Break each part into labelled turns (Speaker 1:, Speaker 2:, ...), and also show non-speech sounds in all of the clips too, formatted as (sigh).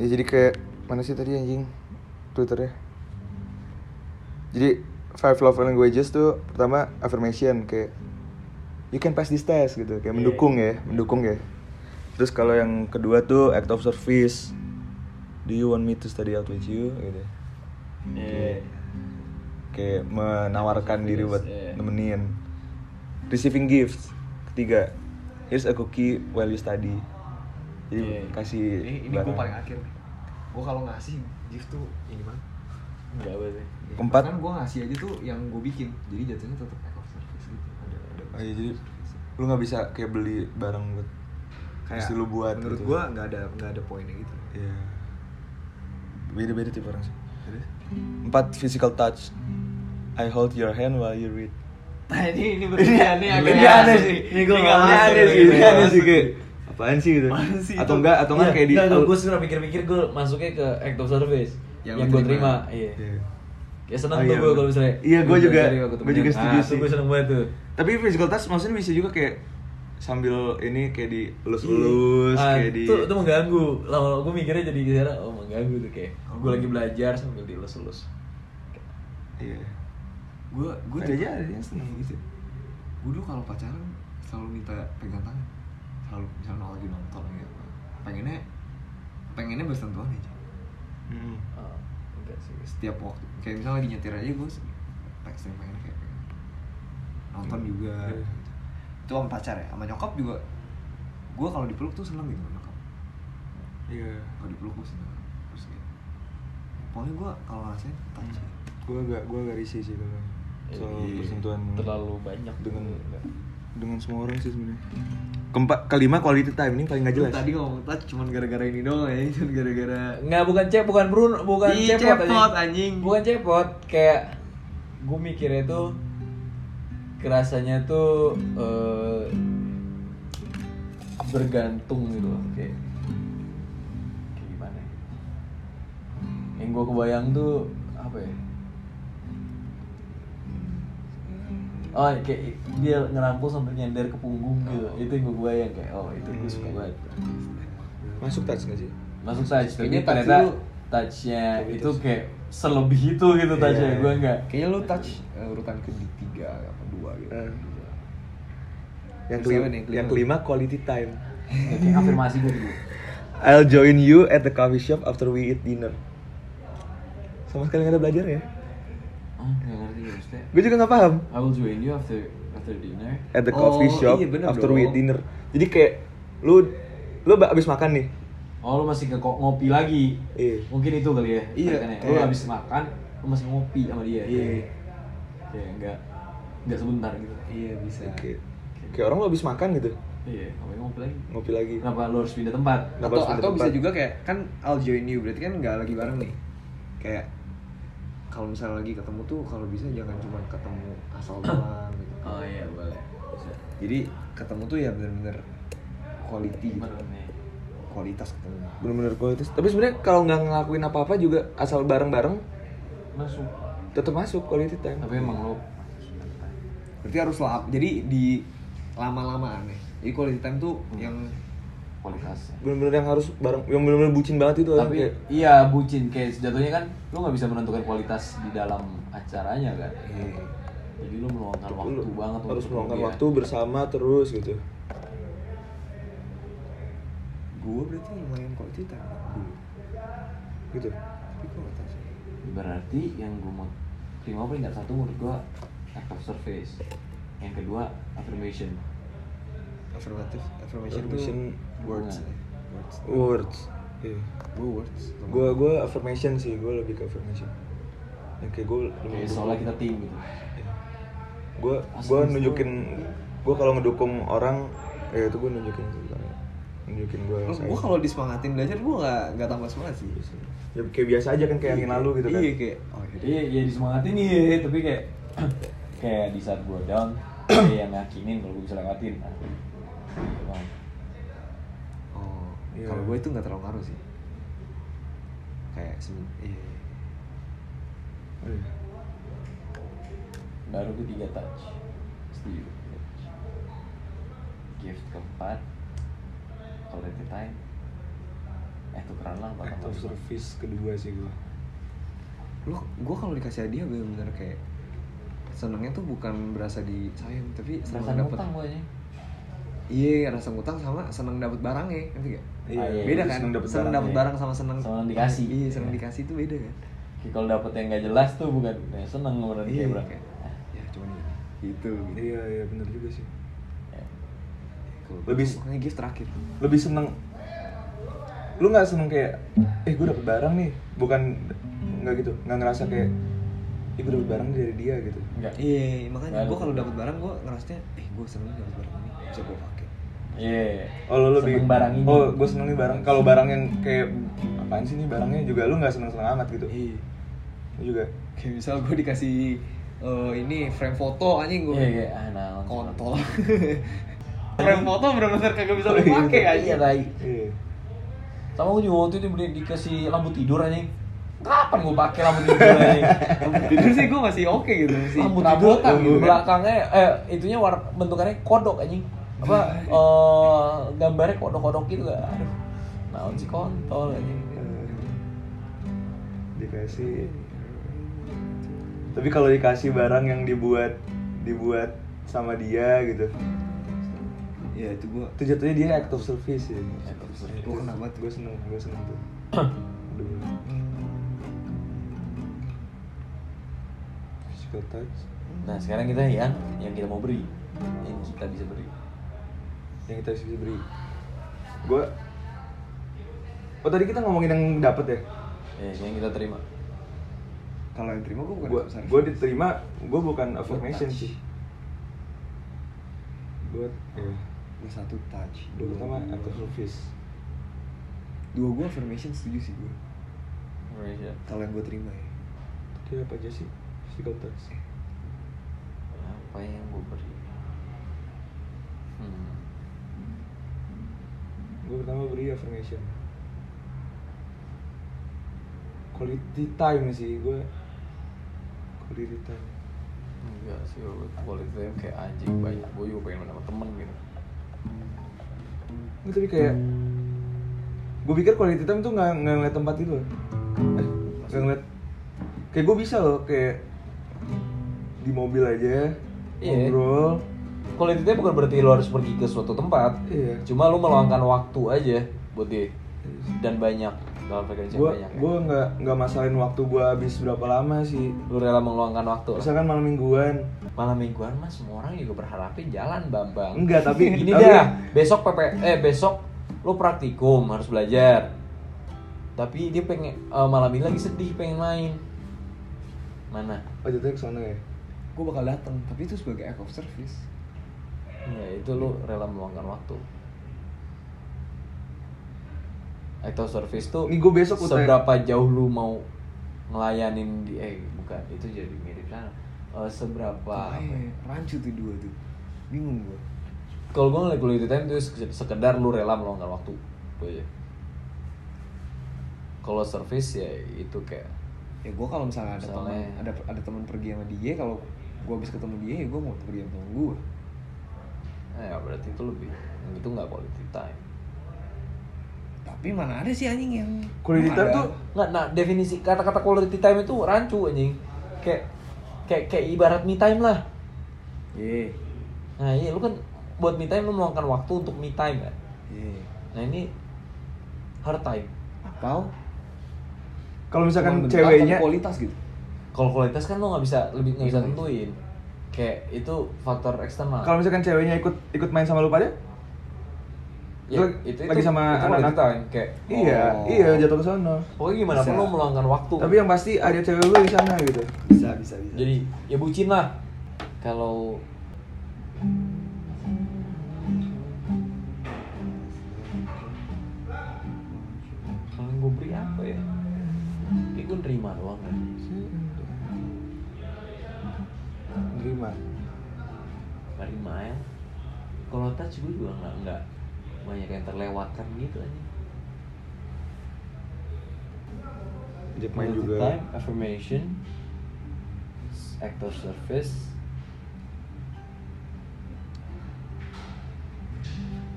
Speaker 1: ya jadi kayak mana sih tadi anjing twitternya jadi five love languages tuh pertama affirmation kayak you can pass this test gitu kayak mendukung ya mendukung ya terus kalau yang kedua tuh act of service do you want me to study out with you gitu
Speaker 2: Iya.
Speaker 1: kayak menawarkan diri buat
Speaker 2: Iya.
Speaker 1: nemenin receiving gifts ketiga here's a cookie while you study jadi
Speaker 2: Iya.
Speaker 1: kasih
Speaker 3: ini, ini gue
Speaker 1: barang.
Speaker 3: paling akhir nih gue kalau ngasih gift tuh ini banget
Speaker 2: Enggak apa sih.
Speaker 1: Keempat.
Speaker 3: kan gue ngasih aja tuh yang gue bikin jadi jatuhnya tetap act of service gitu ada ada
Speaker 1: Oh, iya, jadi lu nggak bisa kayak beli barang buat mesti lu buat
Speaker 3: menurut
Speaker 1: gitu.
Speaker 3: gue nggak ada nggak ada poinnya gitu (laughs)
Speaker 1: Iya. Beda-beda tipe orang sih. Empat physical touch. I hold your hand while you read.
Speaker 2: Nah ini ini berlebihan nih agak
Speaker 1: Ini aneh sih.
Speaker 2: Ini gue nggak
Speaker 1: Ini
Speaker 2: masuk
Speaker 1: aneh
Speaker 2: nih,
Speaker 1: sih.
Speaker 2: ini
Speaker 1: Ini
Speaker 2: nggak
Speaker 1: aneh sih
Speaker 2: masuk.
Speaker 1: kayak apaan sih gitu.
Speaker 2: Apaan sih
Speaker 1: atau
Speaker 2: itu?
Speaker 1: enggak atau enggak
Speaker 2: Iya,
Speaker 1: kayak di
Speaker 2: enggak, gue sebenernya pikir-pikir gue masuknya ke act of service
Speaker 3: Yang
Speaker 2: yang,
Speaker 3: lu
Speaker 2: gue
Speaker 3: terima.
Speaker 2: terima iya
Speaker 1: Iya.
Speaker 2: kayak seneng
Speaker 1: Oh,
Speaker 2: tuh
Speaker 1: iya,
Speaker 2: gue
Speaker 1: bener.
Speaker 2: kalau misalnya
Speaker 1: Iya, gue juga- gue juga setuju
Speaker 2: sih
Speaker 1: sih.
Speaker 2: gue seneng banget Ah, tuh
Speaker 1: Tapi physical touch maksudnya bisa juga kayak sambil ini kayak di elus-elus
Speaker 2: Ah,
Speaker 1: kayak di
Speaker 2: itu, itu mengganggu lama-lama gue mikirnya jadi kira oh mengganggu tuh kayak gue lagi belajar sambil dilus-lus
Speaker 1: Iya.
Speaker 3: gue gue
Speaker 1: Ada aja ada yang seneng gitu.
Speaker 3: gue dulu kalau pacaran selalu minta pegang tangan selalu misalnya lagi nonton gitu pengennya pengennya bersentuhan aja
Speaker 1: Hmm.
Speaker 2: oh, enggak sih
Speaker 3: setiap waktu kayak misalnya lagi nyetir aja gue sering pengennya kayak pengen nonton juga
Speaker 1: Iya.
Speaker 3: gitu. itu sama pacar ya sama nyokap juga gue kalau dipeluk tuh seneng gitu sama nyokap
Speaker 1: Iya.
Speaker 3: kalau dipeluk gue seneng terus kayak pokoknya gue kalau ngerasain touch gitu.
Speaker 1: Hmm. Gue agak gue agak risih sih kalau soal
Speaker 3: Iya.
Speaker 1: persentuhan
Speaker 2: terlalu banyak gitu,
Speaker 1: dengan
Speaker 2: Enggak.
Speaker 1: dengan semua orang sih sebenarnya. Keempat kelima quality time ini paling nggak jelas.
Speaker 3: tadi ngomong touch cuman gara-gara ini doang ya (laughs) cuman gara-gara
Speaker 1: Iya.
Speaker 2: Nggak, bukan cep, bukan Bruno, bukan
Speaker 3: Ih,
Speaker 2: cepot,
Speaker 3: cepot,
Speaker 2: anjing.
Speaker 3: anjing.
Speaker 2: Bukan cepot, kayak gue mikirnya tuh kerasanya tuh eh, bergantung gitu loh, kayak kayak gimana? ya? Yang gue kebayang tuh apa ya? Oh, kayak dia ngerampok sampai nyender ke punggung gitu. Itu yang gue bayang kayak, oh itu gue suka
Speaker 3: Iya.
Speaker 1: Hmm.
Speaker 2: banget
Speaker 1: Masuk touch nggak sih?
Speaker 2: masuk touch tapi
Speaker 3: Kayaknya touch
Speaker 2: ternyata
Speaker 3: lu-
Speaker 2: touchnya
Speaker 1: Tapi
Speaker 2: itu
Speaker 1: touch.
Speaker 2: gitu kayak gitu selebih itu gitu touchnya
Speaker 1: Iya.
Speaker 2: gue enggak
Speaker 3: kayaknya lu touch eh, urutan ke di tiga apa dua gitu
Speaker 1: Eh. Yang
Speaker 3: Terus
Speaker 1: kelima,
Speaker 3: apa nih, kelima?
Speaker 1: yang kelima quality time.
Speaker 2: kayak afirmasi gitu. gue dulu
Speaker 1: I'll join you at the coffee shop after we eat dinner. Sama sekali nggak ada belajar ya.
Speaker 2: oh nggak ngerti ya maksudnya
Speaker 1: Gue juga nggak paham.
Speaker 2: I will join you after after dinner
Speaker 1: At the
Speaker 3: Oh,
Speaker 1: coffee shop
Speaker 3: iya bener
Speaker 1: after
Speaker 3: dong.
Speaker 1: we eat dinner. Jadi kayak lu lu ba- abis makan nih.
Speaker 2: oh lu masih ke ko- ngopi lagi
Speaker 1: Iya.
Speaker 2: mungkin itu kali ya
Speaker 3: Iya,
Speaker 2: kaitannya. lu
Speaker 3: kayak-
Speaker 2: habis makan lu masih ngopi sama dia
Speaker 1: Iya.
Speaker 2: kayak enggak enggak sebentar gitu
Speaker 3: iya bisa
Speaker 1: Kayak, kayak orang lu abis makan gitu
Speaker 2: iya ngapain ngopi lagi
Speaker 1: ngopi lagi.
Speaker 2: kenapa lu harus pindah tempat
Speaker 1: Kenapa
Speaker 3: atau
Speaker 1: harus pindah
Speaker 3: atau bisa
Speaker 1: tempat?
Speaker 3: juga kayak kan I'll join you berarti kan nggak lagi bareng nih kayak kalau misalnya lagi ketemu tuh kalau bisa jangan cuma ketemu asal doang gitu
Speaker 2: oh iya boleh bisa
Speaker 3: jadi ketemu tuh ya bener-bener quality gitu. kualitas ketemu
Speaker 1: Bener-bener kualitas. Tapi sebenarnya kalau nggak ngelakuin apa-apa juga asal bareng-bareng
Speaker 2: masuk
Speaker 1: tetap masuk quality time.
Speaker 2: tapi emang lu masuk sebentar.
Speaker 3: berarti harus lap jadi di lama-lamaan ya jadi quality time tuh yang
Speaker 2: kualitasnya
Speaker 1: Bener-bener yang harus bareng, yang bener-bener bucin banget itu.
Speaker 2: tapi
Speaker 1: kayak-
Speaker 2: iya bucin kayak jatuhnya kan lu nggak bisa menentukan kualitas di dalam acaranya kan
Speaker 3: eh,
Speaker 2: jadi lu meluangkan waktu
Speaker 1: Lu
Speaker 2: banget
Speaker 1: harus
Speaker 2: untuk
Speaker 1: meluangkan
Speaker 2: dia.
Speaker 1: waktu bersama terus gitu
Speaker 3: gue berarti lumayan quality time dulu
Speaker 1: gitu
Speaker 3: tapi kualitas
Speaker 2: berarti yang gue mau terima peringkat satu menurut gua act of service yang kedua affirmation
Speaker 3: affirmative affirmation,
Speaker 1: Affirmation
Speaker 3: tuh words ya. words
Speaker 1: words iya
Speaker 3: gue words
Speaker 1: gue affirmation sih gue lebih ke affirmation yang kayak gue
Speaker 2: kayak seolah kita tim gitu
Speaker 1: gue gue nunjukin gue kalau ngedukung orang ya itu gue nunjukin sebenarnya nunjukin gue
Speaker 3: gue kalau disemangatin belajar gue nggak nggak tambah semangat sih
Speaker 1: ya kayak biasa aja kan kayak angin lalu gitu kan
Speaker 3: iya kayak oh iya
Speaker 2: iya iya disemangatin iya tapi kayak (clears throat) kayak di saat gua down (clears throat) kayak yang yakinin kalau gua bisa lewatin Nah, iya, Bang.
Speaker 3: oh
Speaker 1: Iya.
Speaker 3: kalau gue itu nggak terlalu ngaruh sih kayak semen iya
Speaker 1: Iya.
Speaker 2: baru ketiga touch setuju touch. gift keempat quality time eh tuh keren lah
Speaker 4: act
Speaker 2: empat tambah
Speaker 4: of
Speaker 2: lima.
Speaker 4: service kedua sih
Speaker 3: Ah,
Speaker 4: gua
Speaker 3: lu gue kalau dikasih hadiah bener-bener kayak senengnya tuh bukan berasa disayang tapi
Speaker 2: Berasa
Speaker 3: seneng dapet
Speaker 2: ngutang gue anjing.
Speaker 3: iya rasa ngutang sama seneng dapet barangnya ngerti gak
Speaker 2: Ah, iya.
Speaker 3: beda kan seneng dapet, barang
Speaker 4: iya.
Speaker 3: sama seneng
Speaker 2: Seneng dikasih.
Speaker 3: iya seneng
Speaker 2: Iya.
Speaker 3: dikasih itu beda kan
Speaker 2: Kayak kalau dapet yang gak jelas tuh bukan ya, seneng beneran kayak Ah,
Speaker 3: iya
Speaker 2: berang.
Speaker 3: kayak, ya cuman gitu gitu
Speaker 4: iya iya bener juga sih
Speaker 2: Ya.
Speaker 3: Kalau-
Speaker 1: Lebih- Iya.
Speaker 3: makanya gift terakhir
Speaker 1: lebih seneng lu nggak seneng kayak eh gue dapet barang nih bukan nggak gitu nggak ngerasa kayak eh gue dapet barang dari dia gitu
Speaker 2: Enggak.
Speaker 3: iya
Speaker 2: Baru.
Speaker 3: makanya gue kalau dapet barang gue ngerasanya eh gue seneng dapet barang ini bisa gue pakai
Speaker 2: Iya.
Speaker 1: oh lu lebih
Speaker 2: Seneng barang ini.
Speaker 1: oh gue seneng nih barang kalau barang yang kayak apaan sih nih barangnya juga lu nggak seneng seneng amat gitu
Speaker 3: iya
Speaker 1: Lu juga
Speaker 3: kayak misal gue dikasih eh, ini frame foto anjing gue
Speaker 2: Iya, iya. Ah, nah, (laughs)
Speaker 3: kontol frame foto bener-bener kagak bisa dipakai aja
Speaker 2: Iya, tai.
Speaker 1: iya
Speaker 2: Sama gue juga waktu itu dibeli dikasih lampu tidur anjing. Kapan gue pakai lampu tidur anjing?
Speaker 3: tidur sih gue masih oke gitu masih
Speaker 2: lampu tidur
Speaker 3: perabotan gitu kan.
Speaker 2: belakangnya eh itunya war bentukannya kodok anjing. Apa eh gambarnya kodok-kodok gitu gak? Aduh. Naon sih kontol anjing.
Speaker 1: Eh, dikasih tapi kalau dikasih barang yang dibuat dibuat sama dia gitu
Speaker 3: ya itu gue
Speaker 1: itu jatuhnya dia act of service ya
Speaker 2: Act of service.
Speaker 1: gue kena banget gue seneng gue seneng
Speaker 2: (coughs)
Speaker 1: tuh Aduh.
Speaker 3: Hmm,
Speaker 1: physical touch
Speaker 2: Nah, sekarang kita yang yang kita mau beri, yang kita bisa beri.
Speaker 1: yang kita bisa beri gue oh tadi kita ngomongin yang dapet ya
Speaker 2: Ya, yang kita terima.
Speaker 3: kalau yang terima gue bukan
Speaker 1: gue
Speaker 3: besar
Speaker 1: gue diterima gue bukan affirmation
Speaker 3: touch.
Speaker 1: sih gue ya
Speaker 3: gue satu touch
Speaker 1: gue pertama act of service
Speaker 3: dua gue affirmation setuju sih gue
Speaker 2: Malaysia.
Speaker 3: kalau yang gue terima ya
Speaker 1: tadi apa aja sih physical touch
Speaker 2: Apa yang gue beri? Hmm.
Speaker 1: gue pertama beri affirmation quality time sih gue quality time
Speaker 2: Enggak sih, gue quality time kayak anjing banyak. Gue juga pengen sama temen gitu.
Speaker 1: Nggak, tapi kayak gue pikir quality time tuh nggak nggak ngeliat tempat gitu loh eh nggak ngeliat kayak gue bisa loh kayak di mobil aja
Speaker 2: Iya.
Speaker 1: ngobrol
Speaker 2: Quality time bukan berarti lo harus pergi ke suatu tempat.
Speaker 1: Iya.
Speaker 2: Cuma lo meluangkan waktu aja buat dia dan banyak dalam frekuensi yang
Speaker 1: gue
Speaker 2: banyak. ya.
Speaker 1: gue nggak nggak masalahin waktu gue habis berapa lama sih
Speaker 2: Lo rela meluangkan waktu. lah.
Speaker 1: misalkan malam mingguan
Speaker 2: Malam mingguan mas, semua orang juga berharapin jalan bambang.
Speaker 1: Enggak,
Speaker 2: (laughs)
Speaker 1: tapi-
Speaker 2: gini
Speaker 1: tapi-
Speaker 2: dah. Besok PP, eh besok lo praktikum harus belajar. Tapi dia pengen eh, malam ini lagi sedih pengen main. Mana?
Speaker 1: oh jatuhnya kesana ya
Speaker 3: gue bakal datang tapi itu sebagai act of service
Speaker 2: Enggak, Ya, itu lo rela meluangkan waktu. Act of service tuh
Speaker 1: Ini gua besok UTS.
Speaker 2: seberapa jauh lu mau ngelayanin di eh bukan itu jadi mirip sana. Eh, seberapa apa ya?
Speaker 3: Makanya, rancu tuh dua tuh bingung gue
Speaker 2: kalau gue ngeliat quality time itu sek- sekedar lu rela meluangkan waktu itu aja kalau service ya itu kayak
Speaker 3: ya gue kalau misalnya ada teman
Speaker 2: Misalnya-
Speaker 3: ada ada teman pergi sama dia kalau gue habis ketemu dia ya gue mau pergi sama temen gue
Speaker 2: eh, ya berarti itu lebih itu nggak quality time
Speaker 3: tapi mana ada sih anjing yang
Speaker 1: Quality
Speaker 3: Mana
Speaker 1: time
Speaker 3: ada?
Speaker 1: tuh
Speaker 2: nggak nah definisi kata-kata quality time itu rancu anjing kayak kayak kayak ibarat me time lah
Speaker 3: iya
Speaker 2: nah iya lu kan buat me time lu meluangkan waktu untuk me time kan
Speaker 3: iya
Speaker 2: nah ini hard time
Speaker 3: atau
Speaker 1: kalau misalkan
Speaker 3: cuman bentuk
Speaker 1: ceweknya
Speaker 3: atau kualitas gitu
Speaker 2: kalau kualitas kan lu nggak bisa lebih nggak bisa
Speaker 3: Iya.
Speaker 2: tentuin kayak itu faktor eksternal
Speaker 1: kalau misalkan ceweknya ikut ikut main sama lu pada
Speaker 2: ya,
Speaker 1: Lagi-
Speaker 2: itu,
Speaker 1: lagi
Speaker 2: itu-
Speaker 1: sama
Speaker 2: itu
Speaker 1: anak-anak.
Speaker 2: quality time kayak
Speaker 1: iya
Speaker 3: Oh.
Speaker 1: iya jatuh ke sana
Speaker 2: pokoknya gimana pun
Speaker 3: Bisa.
Speaker 2: lo meluangkan waktu
Speaker 1: tapi yang pasti ada cewek lu di sana gitu
Speaker 3: bisa bisa bisa
Speaker 2: jadi ya bucin lah kalau kalau gue beri apa ya kayak gue nerima doang kan
Speaker 1: nerima
Speaker 2: nerima ya kalau touch gue juga nggak nggak banyak yang terlewatkan gitu aja
Speaker 1: Jack main
Speaker 2: Quality
Speaker 1: juga
Speaker 2: time, affirmation actor service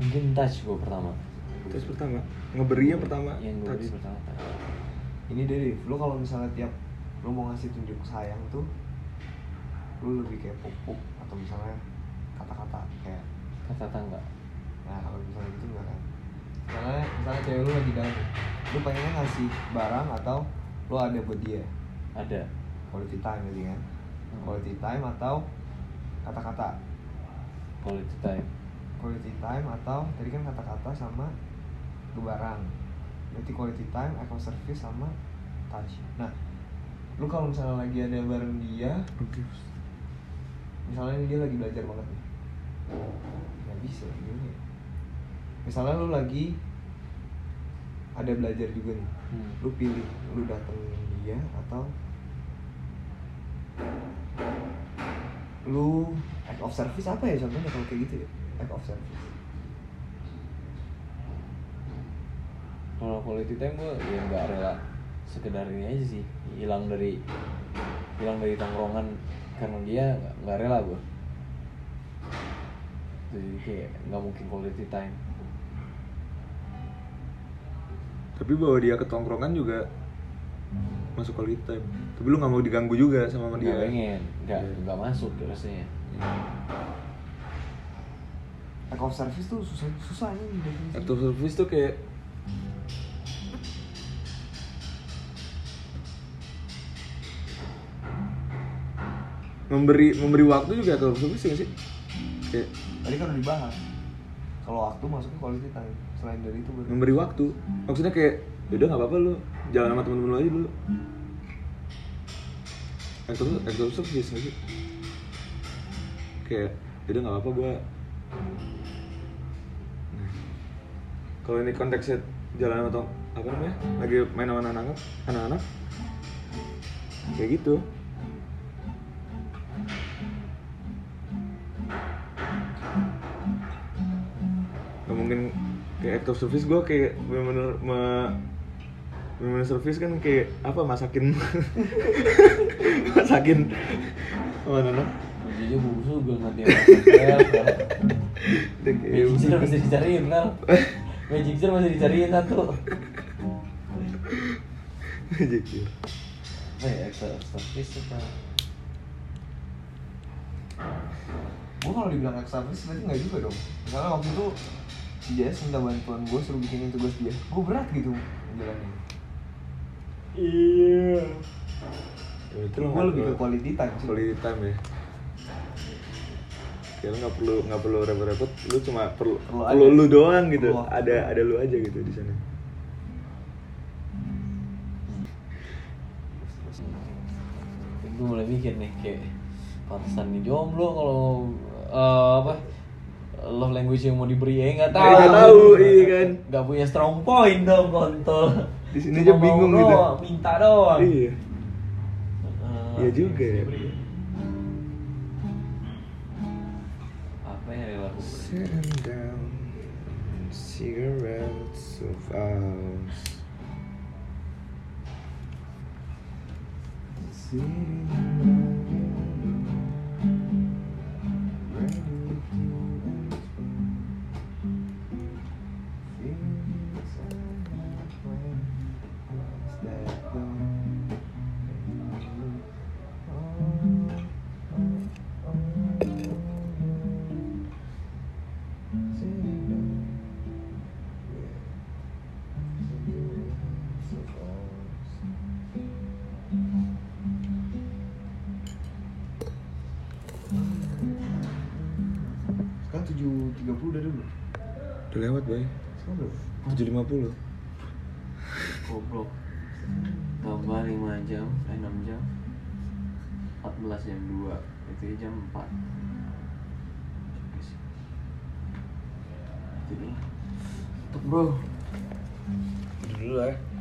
Speaker 2: mungkin touch gue pertama
Speaker 1: Tes pertama, ngeberinya pertama
Speaker 2: yang gue
Speaker 1: tadi.
Speaker 2: beli pertama tadi.
Speaker 3: ini deh Div, lu kalau misalnya tiap lu mau ngasih tunjuk sayang tuh lu lebih kayak pupuk atau misalnya kata-kata kayak
Speaker 2: kata tangga
Speaker 3: nah kalau misalnya gitu enggak kan karena misalnya cewek lu lagi down nih, lu pengennya ngasih barang atau lu ada buat dia
Speaker 2: ada
Speaker 3: quality time gitu kan quality time atau kata-kata
Speaker 2: quality time
Speaker 3: quality time atau tadi kan kata-kata sama ke barang berarti quality time eco service sama touch nah lu kalau misalnya lagi ada bareng dia misalnya ini dia lagi belajar banget nih nggak bisa gini ya. misalnya lu lagi ada belajar juga nih
Speaker 2: Hmm.
Speaker 3: lu pilih lu datengin dia atau lu act of service apa ya contohnya kalau kayak gitu ya act of service
Speaker 2: kalau quality time gue ya nggak rela sekedar ini aja sih hilang dari hilang dari tongkrongan karena dia nggak- nggak rela gue jadi kayak nggak mungkin quality time
Speaker 1: Tapi bawa dia ke tongkrongan juga masuk quality time. Tapi lu nggak mau diganggu juga sama dia.
Speaker 2: nggak
Speaker 1: ya?
Speaker 2: pengen nggak
Speaker 1: Iya.
Speaker 2: nggak masuk rasanya
Speaker 3: act of service tuh susah susah ini definisinya.
Speaker 1: Act of service tuh kayak memberi memberi waktu juga act of service ya nggak sih? Kayak
Speaker 3: tadi kan udah dibahas kalau waktu masuknya quality time selain dari itu baru
Speaker 1: memberi waktu. Maksudnya kayak yaudah nggak apa-apa lu jalan sama temen-temen lu aja dulu. Eh, Act of, act of service nggak sih? Kayak yaudah nggak apa-apa gua Nah. kalau ini konteksnya jalan atau apa namanya lagi main sama anak-anak anak-anak kayak gitu nggak mungkin kayak act of service gue kayak bener-bener me, bener-bener service kan kayak apa masakin (laughs) masakin sama anak-anak
Speaker 2: jadi gue juga nanti yang
Speaker 1: Iya. Dia kayak-
Speaker 3: Iya.
Speaker 2: Babysitter masih dicariin kan Magic Jar masih dicariin
Speaker 1: (laughs)
Speaker 2: kan tuh
Speaker 1: Jadi,
Speaker 2: Eh, extra service apa?
Speaker 3: gue kalau dibilang act service berarti nggak juga dong misalnya waktu itu si Jess minta bantuan gue suruh bikinin tugas dia gue berat gitu jalannya
Speaker 2: Iya
Speaker 1: itu
Speaker 3: gue lebih ke quality time sih.
Speaker 1: quality time ya kayak lu nggak perlu nggak perlu repot-repot lu cuma perlu
Speaker 3: Perlu
Speaker 1: perlu,
Speaker 3: ada.
Speaker 1: lu doang gitu
Speaker 3: Perlu waktu.
Speaker 1: ada ada lu aja gitu di sana
Speaker 2: Gue mulai mikir nih kayak Pantesan nih jomblo kalau eh, apa love language yang mau diberi ya nggak tahu
Speaker 1: Nggak tahu, iya kan.
Speaker 2: nggak punya strong point dong kontol
Speaker 1: Di sini
Speaker 2: Cuma
Speaker 1: aja
Speaker 2: mau
Speaker 1: bingung gitu.
Speaker 2: doang, minta doang
Speaker 1: iya
Speaker 2: Eh,
Speaker 1: Iya juga ya.
Speaker 2: apa yang rela gue beri?
Speaker 1: Sitting down cigarettes of ours Sitting down, ready to
Speaker 3: sekarang tujuh tiga puluh udah dulu
Speaker 1: Udah lewat, Bay.
Speaker 3: sekarang berapa
Speaker 1: 7.50.
Speaker 2: Goblok. Tambah 5 jam, eh 6 jam. 14 jam 2. Itu jam 4. Jadi. Tutup, Bro.
Speaker 1: Udah dulu lah. ya.